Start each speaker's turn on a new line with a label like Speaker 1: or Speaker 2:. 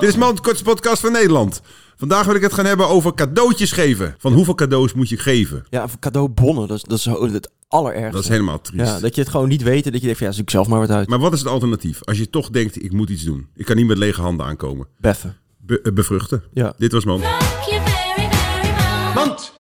Speaker 1: Dit is Mand, de kortste podcast van Nederland. Vandaag wil ik het gaan hebben over cadeautjes geven. Van hoeveel cadeaus moet je geven?
Speaker 2: Ja, of cadeaubonnen, dat is, dat is het allerergste.
Speaker 1: Dat is helemaal triest.
Speaker 2: ja, dat je het gewoon niet weet en dat je denkt van ja, zoek zelf maar wat uit.
Speaker 1: Maar wat is het alternatief? Als je toch denkt, ik moet iets doen. Ik kan niet met lege handen aankomen.
Speaker 2: Beffen.
Speaker 1: Be- eh, bevruchten.
Speaker 2: Ja.
Speaker 1: Dit was Mand.
Speaker 3: Thank you very, very much.